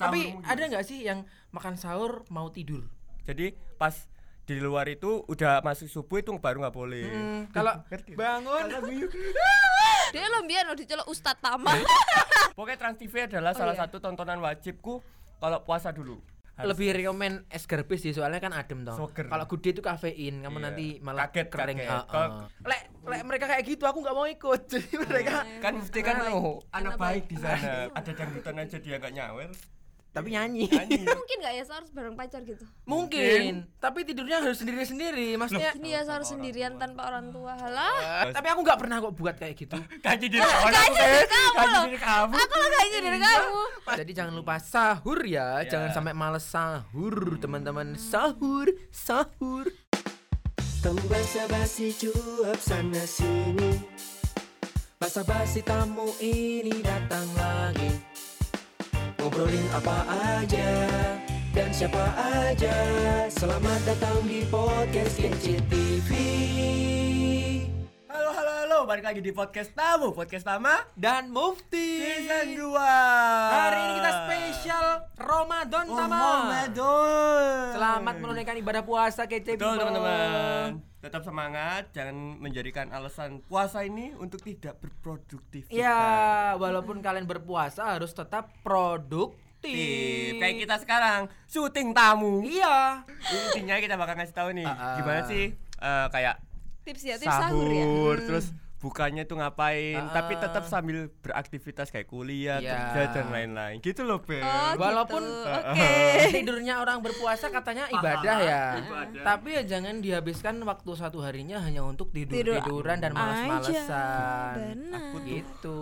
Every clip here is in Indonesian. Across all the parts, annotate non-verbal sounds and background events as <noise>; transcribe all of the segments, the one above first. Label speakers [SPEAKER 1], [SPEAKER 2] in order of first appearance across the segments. [SPEAKER 1] Tapi
[SPEAKER 2] Sahurmu
[SPEAKER 1] ada
[SPEAKER 2] gimana?
[SPEAKER 1] nggak sih yang makan sahur mau tidur?
[SPEAKER 3] Jadi pas di luar itu udah masuk subuh itu baru nggak boleh.
[SPEAKER 1] Hmm,
[SPEAKER 3] <laughs>
[SPEAKER 1] kalau bangun <laughs>
[SPEAKER 4] Dia lo biar lo dicelok Ustadz Tama.
[SPEAKER 1] Eh.
[SPEAKER 3] Pokoknya Trans TV adalah salah satu tontonan wajibku kalau puasa dulu. Harus
[SPEAKER 1] lebih rekomen es garbis sih soalnya kan adem toh.
[SPEAKER 3] Soger.
[SPEAKER 1] Kalau gede itu kafein, kamu
[SPEAKER 3] Iya.
[SPEAKER 1] nanti malah
[SPEAKER 3] Kaget,
[SPEAKER 1] kering.
[SPEAKER 3] kaget.
[SPEAKER 1] Ah, ah.
[SPEAKER 3] Kalau-
[SPEAKER 1] Lek, lek mereka kayak gitu aku nggak mau ikut. <laughs> Jadi mereka
[SPEAKER 3] kan mesti kan mau
[SPEAKER 4] Anak
[SPEAKER 3] anak
[SPEAKER 4] baik.
[SPEAKER 3] baik di sana. Ada dangdutan aja dia nggak nyawer.
[SPEAKER 1] tapi nyanyi.
[SPEAKER 3] Nyanyi.
[SPEAKER 4] Mungkin nggak ya sahur bareng pacar gitu?
[SPEAKER 1] Mungkin, tapi tidurnya harus sendiri-sendiri. Maksudnya
[SPEAKER 4] Ini ya sahur sendirian tanpa orang tua. Halah.
[SPEAKER 1] Eh, tapi aku nggak pernah kok buat kayak gitu.
[SPEAKER 3] Kaji diri kamu.
[SPEAKER 4] Gaji dari kamu
[SPEAKER 3] Kaji
[SPEAKER 4] loh.
[SPEAKER 3] diri kamu.
[SPEAKER 4] Aku lo gaji
[SPEAKER 1] Iya.
[SPEAKER 4] dari kamu.
[SPEAKER 1] Jadi jangan lupa sahur ya,
[SPEAKER 3] Ya.
[SPEAKER 1] jangan sampai males sahur,
[SPEAKER 3] Hmm.
[SPEAKER 1] teman-teman. Sahur, sahur.
[SPEAKER 5] Tamu basa-basi cuap sana sini Basa-basi tamu ini datang lagi Ngobrolin apa aja Dan siapa aja Selamat datang di podcast Kece TV
[SPEAKER 3] Halo halo halo, balik lagi di podcast tamu, podcast lama
[SPEAKER 1] Dan Mufti.
[SPEAKER 3] season 2.
[SPEAKER 1] Hari ini kita spesial Ramadan
[SPEAKER 3] Oh,
[SPEAKER 1] sama. Selamat menunaikan ibadah puasa kece
[SPEAKER 3] Betul
[SPEAKER 1] people.
[SPEAKER 3] teman-teman. Tetap semangat, jangan menjadikan alasan puasa ini untuk tidak berproduktif.
[SPEAKER 1] Ya, walaupun kalian berpuasa harus tetap produktif.
[SPEAKER 3] Kayak kita sekarang syuting tamu.
[SPEAKER 1] Iya.
[SPEAKER 3] Intinya kita bakal ngasih tahu nih
[SPEAKER 1] Ah, ah.
[SPEAKER 3] gimana sih eh, kayak
[SPEAKER 4] Tips
[SPEAKER 1] Iya,
[SPEAKER 4] ya, tips
[SPEAKER 3] sahur,
[SPEAKER 4] sahur ya.
[SPEAKER 3] terus bukannya tuh ngapain,
[SPEAKER 1] Hmm. Ah,
[SPEAKER 3] tapi
[SPEAKER 1] ah.
[SPEAKER 3] tetap sambil beraktivitas kayak kuliah,
[SPEAKER 1] Iya.
[SPEAKER 3] kerja dan lain-lain. Gitu loh, Beb.
[SPEAKER 4] Oh,
[SPEAKER 1] Walaupun- eh,
[SPEAKER 4] gitu.
[SPEAKER 3] Ah,
[SPEAKER 4] oke.
[SPEAKER 1] Tidurnya orang berpuasa katanya ibadah ya. Tapi ya jangan dihabiskan waktu satu harinya hanya untuk
[SPEAKER 4] Tidur
[SPEAKER 1] tidur-tiduran dan malas-malesan.
[SPEAKER 4] Benar.
[SPEAKER 1] Gitu.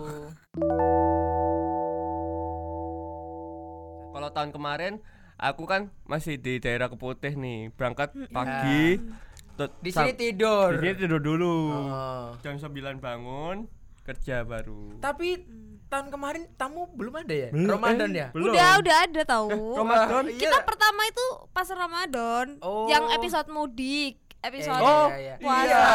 [SPEAKER 3] Kalau tahun kemarin aku kan masih di daerah Keputih nih, berangkat pagi. tet-
[SPEAKER 1] Ya. Di sini
[SPEAKER 3] sam-
[SPEAKER 1] tidur.
[SPEAKER 3] di sini tidur dulu.
[SPEAKER 1] Oh.
[SPEAKER 3] Jam 9 bangun, kerja baru.
[SPEAKER 1] Tapi tahun kemarin tamu belum ada ya?
[SPEAKER 3] Belum,
[SPEAKER 1] Ramadan
[SPEAKER 3] eh,
[SPEAKER 1] ya?
[SPEAKER 3] belum.
[SPEAKER 4] Udah, udah ada tahu.
[SPEAKER 3] Ramadan.
[SPEAKER 1] Iya.
[SPEAKER 4] Kita pertama itu pas Ramadan,
[SPEAKER 1] Oh.
[SPEAKER 4] yang episode mudik, episode
[SPEAKER 1] Oh,
[SPEAKER 4] puasa.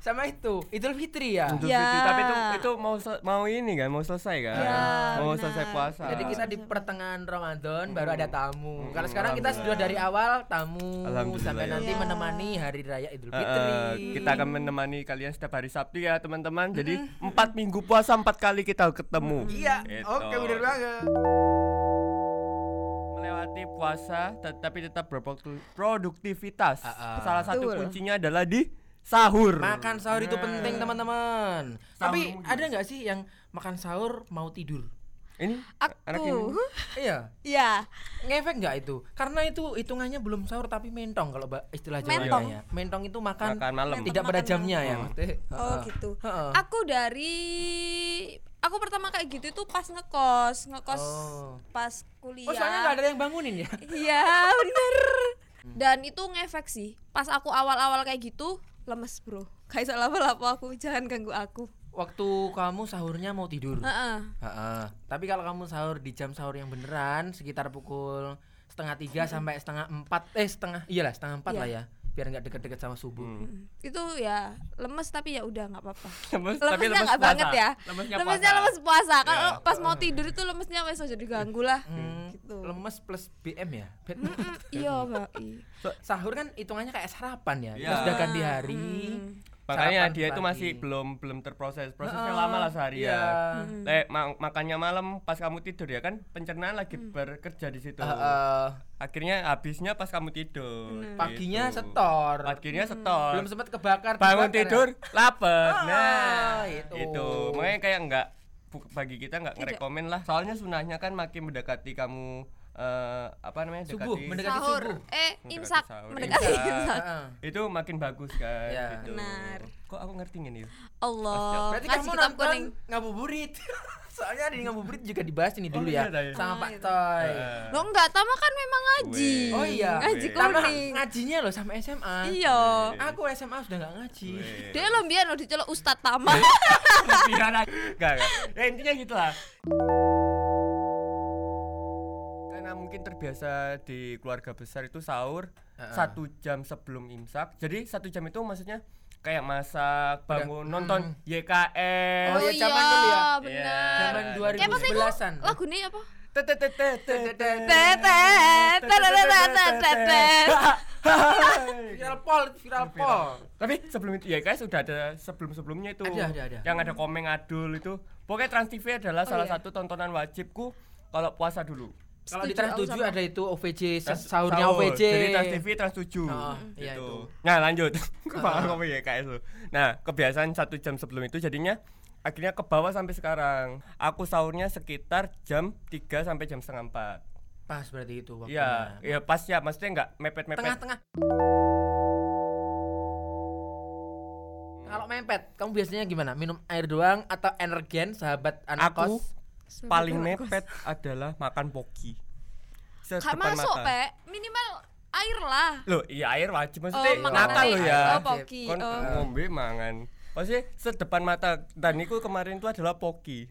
[SPEAKER 1] Sama itu, Idul Fitri ya.
[SPEAKER 3] Idul
[SPEAKER 4] Ya.
[SPEAKER 3] Fitri. Tapi Iya. itu itu mau se- mau ini kan, mau selesai kan?
[SPEAKER 4] Ya,
[SPEAKER 3] mau
[SPEAKER 4] benar.
[SPEAKER 3] selesai puasa.
[SPEAKER 1] Iya,
[SPEAKER 3] Eh,
[SPEAKER 1] Jadi kita di pertengahan Ramadan baru ada tamu. Kalau sekarang kita sudah dari awal tamu
[SPEAKER 3] Alhamdulillah
[SPEAKER 1] sampai
[SPEAKER 3] ya.
[SPEAKER 1] nanti
[SPEAKER 4] Iya.
[SPEAKER 1] menemani hari raya Idul
[SPEAKER 3] Eh,
[SPEAKER 1] Fitri.
[SPEAKER 3] eh, kita akan menemani kalian setiap hari Sabtu ya teman-teman. Jadi empat minggu puasa empat kali kita ketemu.
[SPEAKER 1] Iya,
[SPEAKER 3] Gitu.
[SPEAKER 1] oke bener banget.
[SPEAKER 3] Melewati puasa tetapi tetap berproduk- produktivitas.
[SPEAKER 1] Ah, ah.
[SPEAKER 3] Salah satu
[SPEAKER 4] Betul.
[SPEAKER 3] kuncinya adalah di sahur.
[SPEAKER 1] Makan sahur itu penting teman-teman. Tapi
[SPEAKER 3] Sahurmu
[SPEAKER 1] ada nggak sih yang makan sahur mau tidur?
[SPEAKER 3] Ini anak ini.
[SPEAKER 4] Aku. kan
[SPEAKER 1] Iya,
[SPEAKER 4] Ya,
[SPEAKER 1] ngefek nggak itu? Karena itu hitungannya belum sahur tapi mentong kalau ba- istilah Jawa
[SPEAKER 4] Mentong.
[SPEAKER 1] ya. Mentong itu makan,
[SPEAKER 3] Makan malam.
[SPEAKER 1] tidak pada
[SPEAKER 4] Makan
[SPEAKER 1] jamnya ya. maksudnya.
[SPEAKER 4] oh
[SPEAKER 1] Heeh.
[SPEAKER 4] gitu.
[SPEAKER 1] Heeh.
[SPEAKER 4] Aku dari aku pertama kayak gitu itu pas ngekos, ngekos
[SPEAKER 1] Oh.
[SPEAKER 4] pas kuliah.
[SPEAKER 1] Oh soalnya nggak ada yang bangunin ya?
[SPEAKER 4] Iya, bener. Dan itu ngefek sih. Pas aku awal-awal kayak gitu, lemes bro. Kayak salah apa aku, jangan ganggu aku.
[SPEAKER 1] Waktu kamu sahurnya mau tidur.
[SPEAKER 4] Heeh.
[SPEAKER 1] Heeh. Tapi kalau kamu sahur di jam sahur yang beneran sekitar pukul setengah tiga sampai setengah empat eh setengah iyalah setengah empat lah ya biar nggak deket-deket sama subuh.
[SPEAKER 3] Hmm.
[SPEAKER 4] Itu ya lemes tapi ya udah nggak apa-apa.
[SPEAKER 3] <laughs> Lemes, tapi
[SPEAKER 4] Lemesnya
[SPEAKER 3] lemes
[SPEAKER 4] nggak
[SPEAKER 3] puasa.
[SPEAKER 4] banget ya.
[SPEAKER 3] Lemesnya
[SPEAKER 4] Lemesnya,
[SPEAKER 3] puasa.
[SPEAKER 4] lemes puasa. Kalau pas mau tidur itu lemesnya wes aja diganggu lah.
[SPEAKER 1] Hmm,
[SPEAKER 4] Gitu.
[SPEAKER 1] Lemes plus BM ya. Bad-
[SPEAKER 4] Mm, Iya, Mbak. Iya.
[SPEAKER 1] Sahur kan hitungannya kayak sarapan ya. Kita
[SPEAKER 3] Iya.
[SPEAKER 1] sudah ganti hari.
[SPEAKER 3] Makanya
[SPEAKER 1] sarapan
[SPEAKER 3] dia itu
[SPEAKER 1] pagi.
[SPEAKER 3] masih belum belum terproses. Prosesnya lama lah sehari
[SPEAKER 1] Iya.
[SPEAKER 3] ya.
[SPEAKER 4] Hmm.
[SPEAKER 3] Eh, ma- makannya malam pas kamu tidur ya kan pencernaan lagi
[SPEAKER 4] Hmm.
[SPEAKER 3] bekerja di situ.
[SPEAKER 1] Heeh.
[SPEAKER 3] Akhirnya habisnya pas kamu
[SPEAKER 4] Hmm.
[SPEAKER 3] tidur.
[SPEAKER 1] Paginya
[SPEAKER 3] gitu.
[SPEAKER 1] setor.
[SPEAKER 3] Akhirnya setor.
[SPEAKER 1] Belum sempat kebakar.
[SPEAKER 3] bangun
[SPEAKER 1] dibakar ya.
[SPEAKER 3] tidur lapar.
[SPEAKER 1] Ah,
[SPEAKER 3] nah,
[SPEAKER 1] itu.
[SPEAKER 3] itu. Makanya kayak nggak bu- bagi kita nggak ngerekomen lah. Soalnya sunahnya kan makin mendekati kamu eh apa namanya?
[SPEAKER 1] Subuh,
[SPEAKER 3] Dekati
[SPEAKER 1] mendekati
[SPEAKER 4] Sahur.
[SPEAKER 1] subuh.
[SPEAKER 4] Eh,
[SPEAKER 3] Mendekati
[SPEAKER 4] imsak.
[SPEAKER 3] sahur.
[SPEAKER 4] <laughs> Mendekati imsak.
[SPEAKER 1] Iya, Heeh.
[SPEAKER 3] Itu makin bagus kan
[SPEAKER 1] Iya.
[SPEAKER 3] gitu.
[SPEAKER 4] Benar.
[SPEAKER 3] Kok aku ngerti ya? ini?
[SPEAKER 4] Allah.
[SPEAKER 1] Berarti
[SPEAKER 4] Ngasih
[SPEAKER 1] kamu
[SPEAKER 4] kitab
[SPEAKER 1] nonton
[SPEAKER 4] kuning.
[SPEAKER 1] ngabuburit. <laughs> Soalnya di ngabuburit juga dibahas ini dulu ya
[SPEAKER 3] iya, iya.
[SPEAKER 1] sama
[SPEAKER 4] Ah,
[SPEAKER 1] Pak
[SPEAKER 4] itu.
[SPEAKER 1] Toy.
[SPEAKER 3] Eh,
[SPEAKER 4] Lo enggak, Tama kan memang ngaji.
[SPEAKER 3] Weh.
[SPEAKER 1] Oh iya.
[SPEAKER 4] Ngaji
[SPEAKER 3] Weh.
[SPEAKER 1] Karena
[SPEAKER 4] kuning.
[SPEAKER 1] ngajinya loh sama SMA.
[SPEAKER 4] Iya.
[SPEAKER 1] Aku SMA sudah nggak ngaji.
[SPEAKER 4] Dia lo biar lo dicelok Ustadz Tama.
[SPEAKER 1] Eh,
[SPEAKER 3] Pikiran aku. Nggak, nggak. Ya intinya gitulah. Karena mungkin terbiasa di keluarga besar itu sahur
[SPEAKER 1] Heeh.
[SPEAKER 3] satu jam sebelum imsak. Jadi satu jam itu maksudnya kayak masak, bangun, nonton
[SPEAKER 1] Hmm.
[SPEAKER 3] YKS.
[SPEAKER 1] Oh, iya, zaman dulu ya. Eh.
[SPEAKER 4] bener.
[SPEAKER 1] Zaman
[SPEAKER 3] Iya.
[SPEAKER 4] Kayak pas
[SPEAKER 1] 2011-an.
[SPEAKER 4] lagu nih apa? Tetet, tetetetetetet.
[SPEAKER 1] viral pol itu viral
[SPEAKER 3] Iya.
[SPEAKER 1] pol
[SPEAKER 3] Tapi sebelum itu ya guys sudah ada sebelum-sebelumnya itu.
[SPEAKER 1] Ada, ada, ada.
[SPEAKER 3] Yang ada komeng adul itu. Pokoknya Trans TV
[SPEAKER 1] Oh,
[SPEAKER 3] adalah salah
[SPEAKER 4] iya.
[SPEAKER 3] satu tontonan wajibku kalau puasa dulu.
[SPEAKER 1] kalau di
[SPEAKER 4] Setuju,
[SPEAKER 1] trans
[SPEAKER 4] aku
[SPEAKER 1] 7
[SPEAKER 4] sama.
[SPEAKER 1] ada itu OVJ
[SPEAKER 3] Trans-
[SPEAKER 1] sahurnya
[SPEAKER 3] sahur.
[SPEAKER 1] OVJ
[SPEAKER 3] Jadi Trans TV Trans 7.
[SPEAKER 1] Oh, iya
[SPEAKER 3] gitu.
[SPEAKER 1] itu. Oh.
[SPEAKER 3] Nah, lanjut. <laughs> Kepala kamu ya guys lu. Nah, kebiasaan satu jam sebelum itu jadinya akhirnya ke bawah sampai sekarang. Aku sahurnya sekitar jam 3 sampai jam setengah 4.
[SPEAKER 1] pas berarti itu waktunya
[SPEAKER 3] Iya, iya pas ya, maksudnya enggak mepet-mepet.
[SPEAKER 1] tengah-tengah
[SPEAKER 3] Hmm.
[SPEAKER 1] kalau mepet kamu biasanya gimana minum air doang atau energen sahabat anak
[SPEAKER 3] Aku
[SPEAKER 1] kos
[SPEAKER 3] paling
[SPEAKER 4] Sebentar, aku-
[SPEAKER 3] mepet adalah makan poki.
[SPEAKER 4] Gak
[SPEAKER 3] Sedepan
[SPEAKER 4] masuk,
[SPEAKER 3] mata.
[SPEAKER 4] Pe. Minimal air lah.
[SPEAKER 3] Loh, iya air wajib maksudnya
[SPEAKER 4] Oh, makanan
[SPEAKER 3] nakal lo
[SPEAKER 4] air.
[SPEAKER 3] ya.
[SPEAKER 4] Oh, poki.
[SPEAKER 3] Kon
[SPEAKER 4] Oh.
[SPEAKER 3] ngombe mangan. Maksudnya sedepan mata dan niku kemarin itu adalah poki.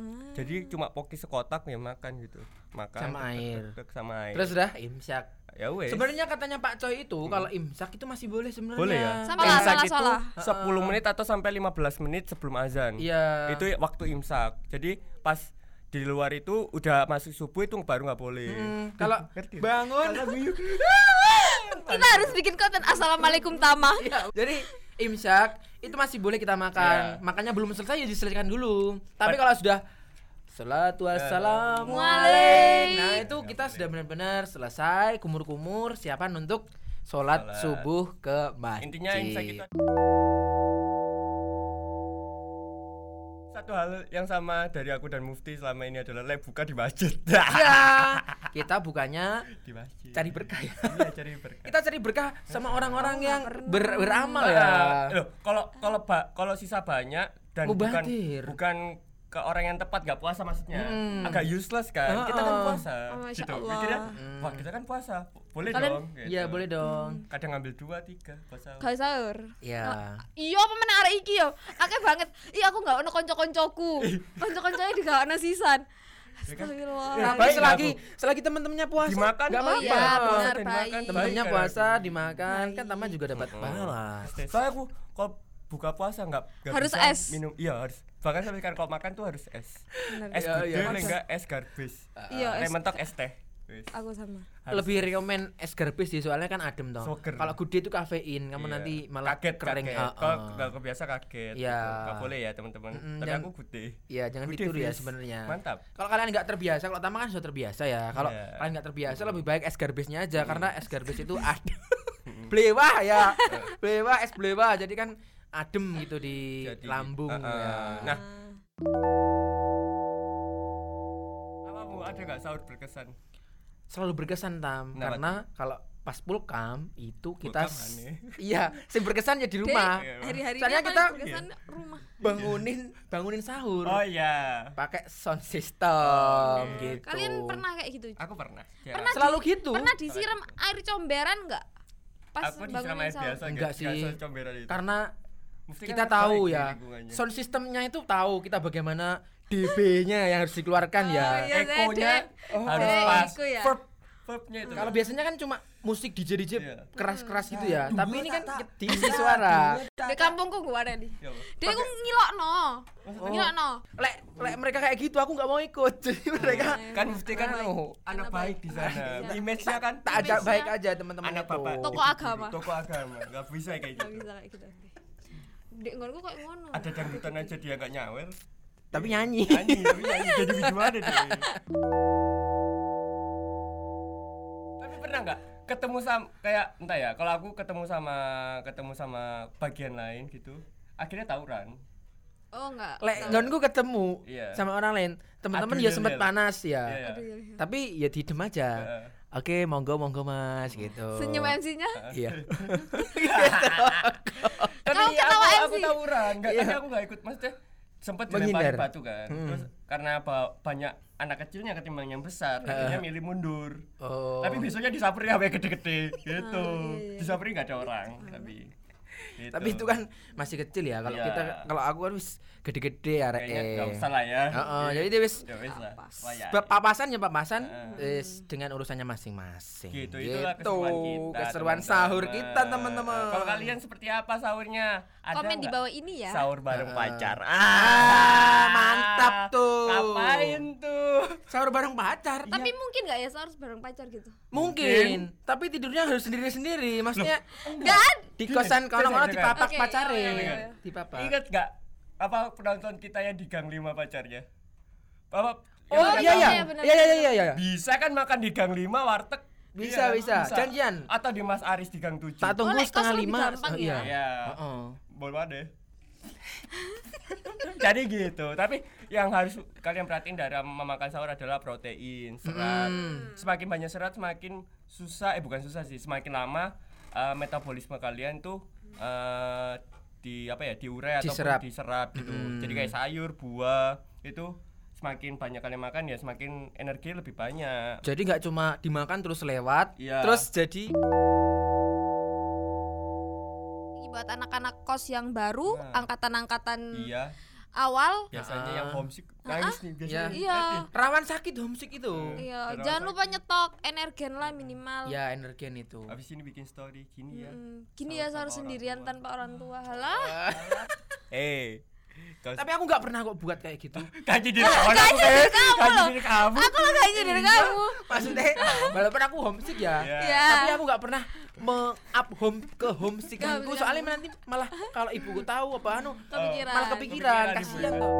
[SPEAKER 4] Hmm.
[SPEAKER 3] Jadi cuma poki sekotak ya makan gitu. Makan
[SPEAKER 1] Sama air.
[SPEAKER 3] tek, tek, tek, sama air.
[SPEAKER 1] terus udah imsak
[SPEAKER 3] ya wes.
[SPEAKER 1] sebenarnya katanya Pak Coy itu kalau imsak itu masih boleh sebenarnya
[SPEAKER 3] Hmm. boleh ya.
[SPEAKER 4] Sama lah,
[SPEAKER 3] imsak
[SPEAKER 4] sama lah,
[SPEAKER 3] itu
[SPEAKER 4] sama
[SPEAKER 3] 10 menit atau sampai 15 menit sebelum azan.
[SPEAKER 1] iya
[SPEAKER 3] Itu waktu imsak. Jadi pas di luar itu udah masuk subuh itu baru nggak boleh.
[SPEAKER 1] Hmm, kalau
[SPEAKER 3] Ngerti ya?
[SPEAKER 1] bangun <laughs>
[SPEAKER 4] Kita harus bikin konten Assalamualaikum Tama.
[SPEAKER 1] Iya, <laughs> jadi imsak itu masih boleh kita
[SPEAKER 3] Iya.
[SPEAKER 1] makan. Makanya belum selesai ya diselesaikan dulu. Tapi kalau sudah Salatu
[SPEAKER 3] Eh,
[SPEAKER 1] wassalamu
[SPEAKER 4] Waalaikumsalam.
[SPEAKER 1] Nah, itu
[SPEAKER 3] Iya,
[SPEAKER 1] kita sudah benar-benar selesai kumur-kumur siapan untuk sholat,
[SPEAKER 3] Sholat.
[SPEAKER 1] subuh ke masjid.
[SPEAKER 3] Nah, Intinya imsak itu satu hal yang sama dari aku dan Mufti selama ini adalah le buka di masjid. <laughs>
[SPEAKER 1] Iya, kita bukannya
[SPEAKER 3] di masjid.
[SPEAKER 1] cari berkah ya.
[SPEAKER 3] Iya, cari berkah.
[SPEAKER 1] <laughs> Kita cari berkah sama orang-orang yang
[SPEAKER 4] Oh, pernah.
[SPEAKER 1] ber- beramal
[SPEAKER 3] Ah,
[SPEAKER 1] ya.
[SPEAKER 3] Loh, kalau kalau ba- kalau sisa banyak dan bukan
[SPEAKER 1] Mubadir.
[SPEAKER 3] bukan ke orang yang tepat gak puasa maksudnya.
[SPEAKER 1] Mm.
[SPEAKER 3] Agak useless kan. Kita kan
[SPEAKER 1] Ah, ah.
[SPEAKER 3] puasa.
[SPEAKER 4] Oh, Masya
[SPEAKER 3] gitu.
[SPEAKER 4] Allah.
[SPEAKER 3] Mikirnya, wah, kita kan puasa. Boleh
[SPEAKER 4] Kalian- Hmm.
[SPEAKER 3] dong. gitu.
[SPEAKER 1] Hmm. Iya, boleh dong.
[SPEAKER 3] Kadang ngambil dua tiga puasa.
[SPEAKER 4] Guys, sahur.
[SPEAKER 1] Iya.
[SPEAKER 4] Iya, apa meneh arek iki yo? Akeh banget. Iya, aku gak ono kanca-kancaku. Kanca-kancane juga ono sisan.
[SPEAKER 1] Iya kan?
[SPEAKER 4] Astagfirullah.
[SPEAKER 1] Tapi
[SPEAKER 3] baik lah
[SPEAKER 1] selagi selagi teman-temannya puasa,
[SPEAKER 3] Dimakan.
[SPEAKER 1] nggak
[SPEAKER 4] Oh
[SPEAKER 1] apa-apa.
[SPEAKER 4] iya, benar,
[SPEAKER 3] Dimakan,
[SPEAKER 4] baik.
[SPEAKER 3] teman.
[SPEAKER 1] temennya
[SPEAKER 3] Baik,
[SPEAKER 1] puasa
[SPEAKER 3] kan?
[SPEAKER 1] dimakan kan taman juga dapat pahala
[SPEAKER 3] Soalnya aku kalau buka puasa nggak nggak
[SPEAKER 4] Harus
[SPEAKER 3] bisa
[SPEAKER 4] es.
[SPEAKER 3] minum iya harus bahkan sampai sekarang kalau makan tuh harus es
[SPEAKER 4] Bener.
[SPEAKER 3] es
[SPEAKER 1] Iya,
[SPEAKER 3] gede
[SPEAKER 1] iya.
[SPEAKER 3] iya, enggak es garbis
[SPEAKER 4] Iya,
[SPEAKER 3] Nek
[SPEAKER 4] es-
[SPEAKER 3] mentok es teh Wis.
[SPEAKER 4] Aku sama.
[SPEAKER 3] Harus.
[SPEAKER 1] lebih rekomen es garbis sih soalnya kan adem toh
[SPEAKER 3] Soger.
[SPEAKER 1] kalau gede itu kafein kamu
[SPEAKER 3] Iya.
[SPEAKER 1] nanti malah
[SPEAKER 3] kaget
[SPEAKER 1] kering
[SPEAKER 3] kaget
[SPEAKER 1] Ah,
[SPEAKER 3] kalau
[SPEAKER 1] ah.
[SPEAKER 3] nggak kebiasa kaget
[SPEAKER 1] Iya.
[SPEAKER 3] gitu. nggak boleh ya teman-teman
[SPEAKER 1] Mm-mm,
[SPEAKER 3] tapi
[SPEAKER 1] jangan-
[SPEAKER 3] aku gede
[SPEAKER 1] Iya, jangan
[SPEAKER 3] Gede,
[SPEAKER 1] ditiru ya
[SPEAKER 3] Fis.
[SPEAKER 1] sebenarnya.
[SPEAKER 3] Mantap.
[SPEAKER 1] Kalau kalian nggak terbiasa, kalau Tama kan sudah terbiasa ya. Kalau
[SPEAKER 3] Iya.
[SPEAKER 1] kalian nggak terbiasa, lebih baik es garbisnya aja karena es garbis
[SPEAKER 3] <laughs>
[SPEAKER 1] itu adem. blewah ya, blewah es blewah. Jadi kan adem gitu di
[SPEAKER 3] Jadi,
[SPEAKER 1] lambung
[SPEAKER 3] ah, ah.
[SPEAKER 1] ya.
[SPEAKER 3] nah kamu ada nggak sahur berkesan
[SPEAKER 1] selalu berkesan tam
[SPEAKER 3] Kenapa
[SPEAKER 1] karena kalau pas pulkam itu kita
[SPEAKER 3] Pulkam
[SPEAKER 1] s-
[SPEAKER 3] aneh.
[SPEAKER 1] <laughs>
[SPEAKER 3] Iya,
[SPEAKER 1] iya sing berkesan ya di rumah
[SPEAKER 3] Dek.
[SPEAKER 4] Hari-hari
[SPEAKER 1] Soalnya
[SPEAKER 4] ini
[SPEAKER 1] kita-
[SPEAKER 4] paling berkesan rumah.
[SPEAKER 1] bangunin bangunin sahur
[SPEAKER 3] oh iya Oh,
[SPEAKER 1] pakai sound system gitu
[SPEAKER 4] Kalian pernah kayak gitu?
[SPEAKER 3] aku pernah Ya.
[SPEAKER 4] Pernah
[SPEAKER 1] selalu
[SPEAKER 4] di-
[SPEAKER 1] gitu
[SPEAKER 4] Pernah disiram air comberan enggak? Pas
[SPEAKER 3] aku disiram
[SPEAKER 4] bangunin
[SPEAKER 3] air
[SPEAKER 4] sahur.
[SPEAKER 3] biasa
[SPEAKER 1] Enggak sih.
[SPEAKER 3] nggak sahur comberan itu.
[SPEAKER 1] karena
[SPEAKER 3] Mufti
[SPEAKER 1] kita
[SPEAKER 3] kan tertarik
[SPEAKER 1] tahu
[SPEAKER 3] di
[SPEAKER 1] ya
[SPEAKER 3] lingkungannya.
[SPEAKER 1] sound systemnya itu tahu kita bagaimana DB-nya yang harus dikeluarkan ya
[SPEAKER 4] Oh, iya. Dek,
[SPEAKER 3] ekonya
[SPEAKER 4] Dek.
[SPEAKER 3] oh, harus
[SPEAKER 4] Dek,
[SPEAKER 3] pas
[SPEAKER 4] iku ya. Iya,
[SPEAKER 3] verb verbnya itu
[SPEAKER 1] kalau biasanya kan cuma musik DJ DJ
[SPEAKER 3] Iya.
[SPEAKER 1] keras-keras gitu ya tapi ini kan diisi suara
[SPEAKER 4] Di kampungku gua ada nih.
[SPEAKER 3] Ya Allah.
[SPEAKER 4] Dia aku ngilokno. Ngilokno.
[SPEAKER 1] lek lek mereka kayak gitu aku nggak mau ikut <laughs> jadi mereka
[SPEAKER 3] kan
[SPEAKER 4] iya.
[SPEAKER 3] mesti kan oh, anak baik di sana image-nya kan
[SPEAKER 1] tak ajak
[SPEAKER 4] Image-nya
[SPEAKER 1] baik aja teman-teman
[SPEAKER 3] anak
[SPEAKER 1] itu.
[SPEAKER 3] bapak
[SPEAKER 4] Tokoh agama.
[SPEAKER 3] toko agama nggak bisa kayak
[SPEAKER 4] Gak
[SPEAKER 3] gitu
[SPEAKER 4] bisa kayak gitu. Dek ngono kok ngono.
[SPEAKER 3] ada dangdutan aja dia nggak nyawer
[SPEAKER 1] Tapi nyanyi.
[SPEAKER 3] Iya.
[SPEAKER 4] Iya.
[SPEAKER 3] nyanyi tapi nyanyi jadi gimana deh tapi pernah nggak ketemu sama kayak entah ya kalau aku ketemu sama ketemu sama bagian lain gitu akhirnya tawuran
[SPEAKER 4] Oh enggak.
[SPEAKER 1] <laughs> Lek nggonku ketemu
[SPEAKER 3] Iya.
[SPEAKER 1] sama orang lain, teman-teman
[SPEAKER 3] Aduh,
[SPEAKER 1] ya
[SPEAKER 3] iya, iya.
[SPEAKER 1] sempet panas
[SPEAKER 3] Iya,
[SPEAKER 1] ya.
[SPEAKER 3] iya.
[SPEAKER 4] Aduh, iya, iya.
[SPEAKER 1] Tapi ya didem aja.
[SPEAKER 3] Heeh.
[SPEAKER 1] Oke, monggo monggo Mas gitu.
[SPEAKER 3] Oh.
[SPEAKER 4] Senyum MC-nya.
[SPEAKER 3] <laughs>
[SPEAKER 1] Iya.
[SPEAKER 3] tapi
[SPEAKER 4] Kau
[SPEAKER 3] iya,
[SPEAKER 4] ketawa Iya.
[SPEAKER 3] aku, aku
[SPEAKER 4] MC.
[SPEAKER 3] tawuran nggak tapi aku nggak ikut maksudnya sempat dilempari
[SPEAKER 1] Menghindar. Hmm.
[SPEAKER 3] batu kan terus karena ba- banyak anak kecilnya ketimbang yang besar akhirnya
[SPEAKER 4] Iya.
[SPEAKER 3] milih mundur gitu.
[SPEAKER 1] Oh.
[SPEAKER 4] Oh, iya,
[SPEAKER 3] tapi besoknya disamperin sama yang gede-gede gitu disamperin nggak ada orang tapi Gitu.
[SPEAKER 1] Tapi itu kan masih kecil ya. Kalau
[SPEAKER 3] Iya.
[SPEAKER 1] kita kalau aku kan wis gede-gede ya rek.
[SPEAKER 3] Kayaknya nggak usah lah ya.
[SPEAKER 1] Heeh, jadi dia wis
[SPEAKER 3] Ya wis lah.
[SPEAKER 4] Pas.
[SPEAKER 3] wayahe.
[SPEAKER 1] Sebab papasan ya papasan
[SPEAKER 3] Heeh.
[SPEAKER 1] is dengan urusannya masing-masing.
[SPEAKER 3] Gitu, itulah keseruan kita.
[SPEAKER 1] Keseruan
[SPEAKER 3] teman-teman.
[SPEAKER 1] sahur kita teman-teman.
[SPEAKER 3] Kalau kalian seperti apa sahurnya? Ada
[SPEAKER 4] Komen di
[SPEAKER 3] nggak
[SPEAKER 4] bawah ini ya.
[SPEAKER 3] Sahur bareng
[SPEAKER 1] Ah.
[SPEAKER 3] pacar.
[SPEAKER 1] Ah, mantap tuh.
[SPEAKER 3] Ngapain tuh?
[SPEAKER 1] sahur bareng
[SPEAKER 3] Iya,
[SPEAKER 1] pacar.
[SPEAKER 4] Tapi mungkin nggak ya sahur bareng pacar gitu?
[SPEAKER 1] Mungkin, kan tapi tidurnya harus sendiri-sendiri. Maksudnya
[SPEAKER 4] Enggak.
[SPEAKER 1] di kosan kalau
[SPEAKER 3] Jangan,
[SPEAKER 1] kalau
[SPEAKER 3] jangan.
[SPEAKER 1] dipapak
[SPEAKER 4] Oke,
[SPEAKER 1] pacarin.
[SPEAKER 4] iya, iya, iya.
[SPEAKER 1] Dipapak.
[SPEAKER 3] Ingat nggak apa penonton kita yang di gang 5 pacarnya? Bapak
[SPEAKER 1] Oh iya iya.
[SPEAKER 4] Iya, benar,
[SPEAKER 1] Iya iya
[SPEAKER 4] benar.
[SPEAKER 1] iya iya.
[SPEAKER 3] Bisa kan makan di gang 5 warteg? Iya,
[SPEAKER 1] Bisa, bisa. Janjian.
[SPEAKER 3] Atau di Mas Aris di gang 7.
[SPEAKER 1] Tak tunggu
[SPEAKER 4] Boleh, kos
[SPEAKER 1] setengah
[SPEAKER 4] lebih
[SPEAKER 1] lima.
[SPEAKER 4] gampang
[SPEAKER 1] Oh,
[SPEAKER 4] ya.
[SPEAKER 1] Iya.
[SPEAKER 3] Iya.
[SPEAKER 1] Heeh.
[SPEAKER 3] Boleh deh. <laughs> Jadi gitu. Tapi yang harus kalian perhatiin dalam memakan sahur adalah protein, serat.
[SPEAKER 1] Hmm.
[SPEAKER 3] Semakin banyak serat semakin susah eh bukan susah sih, semakin lama eh, metabolisme kalian tuh eh di apa ya, diurai atau
[SPEAKER 1] Diserap.
[SPEAKER 3] diserap gitu.
[SPEAKER 1] Mm.
[SPEAKER 3] Jadi kayak sayur, buah itu semakin banyak kalian makan ya semakin energi lebih banyak.
[SPEAKER 1] Jadi nggak cuma dimakan terus lewat,
[SPEAKER 3] Iya.
[SPEAKER 1] terus jadi
[SPEAKER 4] Buat anak-anak kos yang baru,
[SPEAKER 3] Nah.
[SPEAKER 4] angkatan-angkatan
[SPEAKER 3] Iya,
[SPEAKER 4] awal.
[SPEAKER 3] biasanya
[SPEAKER 1] Hmm. Ah.
[SPEAKER 3] yang homesick nangis nih biasanya.
[SPEAKER 1] Iya.
[SPEAKER 4] Iya.
[SPEAKER 1] rawan sakit homesick itu.
[SPEAKER 4] Iya,
[SPEAKER 3] Jangan
[SPEAKER 4] jangan
[SPEAKER 3] sakit.
[SPEAKER 4] lupa nyetok energen lah minimal.
[SPEAKER 1] Ya energen itu.
[SPEAKER 3] Habis ini bikin story gini
[SPEAKER 1] Hmm.
[SPEAKER 3] ya.
[SPEAKER 4] Mm, Gini ya
[SPEAKER 3] Sahur
[SPEAKER 4] sahur
[SPEAKER 3] tanpa orang
[SPEAKER 4] sendirian
[SPEAKER 3] tua.
[SPEAKER 4] tanpa orang tua. Halah.
[SPEAKER 3] Eh. kau-
[SPEAKER 1] Tapi aku nggak pernah kok buat kayak gitu.
[SPEAKER 3] gaji diri kamu
[SPEAKER 4] gaji diri kamu
[SPEAKER 3] gaji
[SPEAKER 4] loh.
[SPEAKER 3] diri kamu
[SPEAKER 4] <laughs> Aku lo kayak nyindir
[SPEAKER 1] Iya.
[SPEAKER 4] kamu.
[SPEAKER 1] Maksudnya walaupun aku homesick ya,
[SPEAKER 3] Iya.
[SPEAKER 4] Iya.
[SPEAKER 1] tapi aku nggak pernah me-up home ke homesickanku
[SPEAKER 4] Nggak,
[SPEAKER 1] soalnya
[SPEAKER 4] nggak.
[SPEAKER 1] nanti malah kalau ibuku tahu apa anu
[SPEAKER 4] Kepikiran.
[SPEAKER 1] malah kepikiran
[SPEAKER 3] Kepikiran,
[SPEAKER 1] kasihan
[SPEAKER 3] ibu.
[SPEAKER 1] tuh.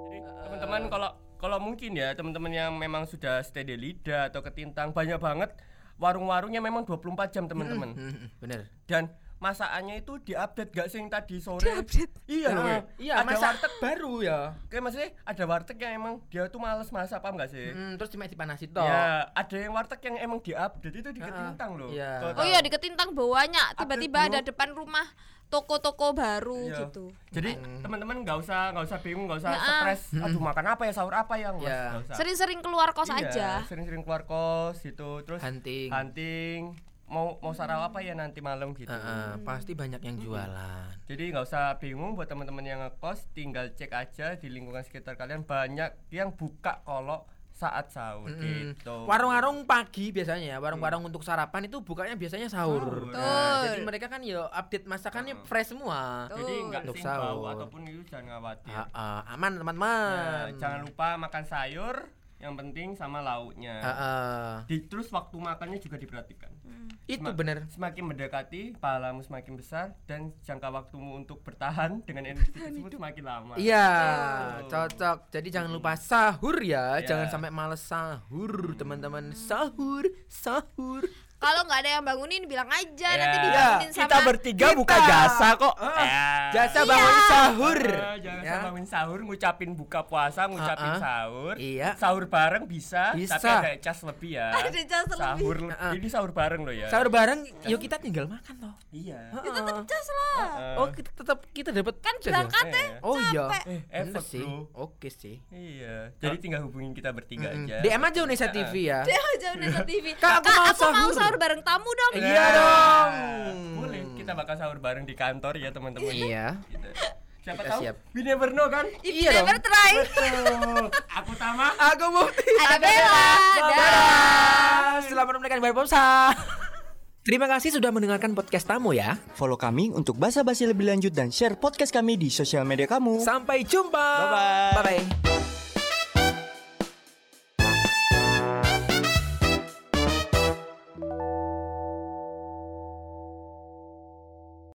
[SPEAKER 3] Jadi, teman-teman kalau kalau mungkin ya teman-teman yang memang sudah stay di lidah atau ketintang banyak banget warung-warungnya memang 24 jam teman-teman
[SPEAKER 1] Hmm, bener.
[SPEAKER 3] dan masakannya itu diupdate gak sih yang tadi sore iya loh
[SPEAKER 1] Nah,
[SPEAKER 3] weh. ada
[SPEAKER 1] iya, masak
[SPEAKER 3] warteg
[SPEAKER 1] baru ya.
[SPEAKER 3] kayak maksudnya ada warteg yang emang dia tuh males masak paham gak sih
[SPEAKER 1] Hmm, terus cuma dipanasin toh.
[SPEAKER 3] ya ada yang warteg yang emang diupdate itu di
[SPEAKER 1] Ah,
[SPEAKER 3] ketintang loh
[SPEAKER 1] iya.
[SPEAKER 3] Kalau
[SPEAKER 4] Oh
[SPEAKER 3] tahu.
[SPEAKER 4] iya diketintang bawahnya tiba-tiba
[SPEAKER 3] Update
[SPEAKER 4] ada depan rumah toko-toko baru
[SPEAKER 3] Iya.
[SPEAKER 4] gitu.
[SPEAKER 1] Nah.
[SPEAKER 3] Jadi teman-teman nggak usah nggak usah bingung nggak usah
[SPEAKER 4] Nah, ah.
[SPEAKER 3] stres. Aduh makan apa ya sahur apa ya mas?
[SPEAKER 1] Iya.
[SPEAKER 3] Nggak usah.
[SPEAKER 4] Sering-sering keluar kos
[SPEAKER 3] Iya,
[SPEAKER 4] aja.
[SPEAKER 3] Sering-sering keluar kos gitu terus
[SPEAKER 1] Hunting.
[SPEAKER 3] hunting. Mau mau sarap apa ya nanti malam gitu.
[SPEAKER 1] Heeh, pasti banyak yang jualan.
[SPEAKER 3] Jadi nggak usah bingung buat teman-teman yang ngekos, tinggal cek aja di lingkungan sekitar kalian banyak yang buka kalau saat sahur
[SPEAKER 1] Mm-mm.
[SPEAKER 3] gitu.
[SPEAKER 1] Mm. Warung-warung pagi biasanya ya, warung-warung untuk sarapan itu bukanya biasanya sahur.
[SPEAKER 3] Sahur.
[SPEAKER 1] Nah, jadi
[SPEAKER 4] Betul.
[SPEAKER 1] mereka kan ya update masakannya fresh semua.
[SPEAKER 4] Betul.
[SPEAKER 3] Jadi nggak
[SPEAKER 1] Untuk
[SPEAKER 3] sing bau
[SPEAKER 1] sahur.
[SPEAKER 3] ataupun itu jangan khawatir.
[SPEAKER 1] Ah, ah,
[SPEAKER 3] Nah,
[SPEAKER 1] aman
[SPEAKER 4] Hmm.
[SPEAKER 1] teman-teman.
[SPEAKER 3] jangan lupa makan sayur yang penting sama lauknya.
[SPEAKER 1] Ah, ah.
[SPEAKER 3] Di, terus waktu makannya juga diperhatikan.
[SPEAKER 1] itu
[SPEAKER 3] Sema-
[SPEAKER 1] bener.
[SPEAKER 3] Semakin mendekati, pahalamu semakin besar dan jangka waktumu untuk bertahan dengan energi tersebut semakin lama.
[SPEAKER 1] Iya,
[SPEAKER 3] Betul.
[SPEAKER 1] cocok. Jadi jangan lupa sahur ya,
[SPEAKER 3] Iya. Hmm.
[SPEAKER 1] jangan sampai males sahur, teman-teman. Sahur, sahur.
[SPEAKER 4] Kalau nggak ada yang bangunin bilang aja
[SPEAKER 3] Ya.
[SPEAKER 4] nanti
[SPEAKER 3] Iya,
[SPEAKER 4] dibangunin sama
[SPEAKER 3] bertiga
[SPEAKER 1] buka jasa Eh.
[SPEAKER 3] kok.
[SPEAKER 1] Jasa
[SPEAKER 4] Iya.
[SPEAKER 1] bangun sahur.
[SPEAKER 3] Eh, iya, jangan
[SPEAKER 1] Ya.
[SPEAKER 3] bangun sahur, ngucapin buka puasa, ngucapin
[SPEAKER 1] Ah, ah.
[SPEAKER 3] sahur.
[SPEAKER 1] Iya.
[SPEAKER 3] Sahur bareng bisa,
[SPEAKER 1] Bisa.
[SPEAKER 3] tapi ada cas lebih ya.
[SPEAKER 4] Ada cas lebih.
[SPEAKER 3] Sahur, le-
[SPEAKER 1] Ah, ah.
[SPEAKER 3] ini sahur bareng loh ya.
[SPEAKER 1] Sahur bareng, yuk kita tinggal makan toh.
[SPEAKER 3] Iya.
[SPEAKER 4] itu pecas lah.
[SPEAKER 3] Eh,
[SPEAKER 1] Oh, kita tetap kita dapat kerja
[SPEAKER 4] Kan
[SPEAKER 1] ya?
[SPEAKER 4] berangkatnya
[SPEAKER 3] Eh.
[SPEAKER 1] Oh iya.
[SPEAKER 3] Eh,
[SPEAKER 1] Bener
[SPEAKER 3] effort,
[SPEAKER 1] sih.
[SPEAKER 3] bro.
[SPEAKER 1] Oke sih.
[SPEAKER 3] Iya. Jadi tinggal hubungin kita bertiga
[SPEAKER 1] Mm.
[SPEAKER 3] aja.
[SPEAKER 1] DM aja Unesa TV ya.
[SPEAKER 4] Dia jauh Nesa TV.
[SPEAKER 1] Kak, aku mau sahur.
[SPEAKER 4] bareng tamu dong.
[SPEAKER 1] Iya. dong.
[SPEAKER 3] Boleh, kita bakal sahur bareng di kantor ya teman-teman.
[SPEAKER 1] Iya.
[SPEAKER 3] Gitu. Siapa
[SPEAKER 1] Kita
[SPEAKER 3] tahu?
[SPEAKER 1] siap.
[SPEAKER 3] We never know kan?
[SPEAKER 4] If
[SPEAKER 1] Iya
[SPEAKER 4] never
[SPEAKER 1] dong.
[SPEAKER 4] try.
[SPEAKER 1] <laughs>
[SPEAKER 3] Betul. Aku Tama.
[SPEAKER 1] Aku mau
[SPEAKER 4] Ada Bella. Dadah.
[SPEAKER 1] Selamat menekan ibadah <laughs> puasa. Terima kasih sudah mendengarkan podcast tamu ya.
[SPEAKER 5] Follow kami untuk basa-basi lebih lanjut dan share podcast kami di sosial media kamu.
[SPEAKER 1] Sampai jumpa.
[SPEAKER 3] Bye-bye.
[SPEAKER 1] Bye bye.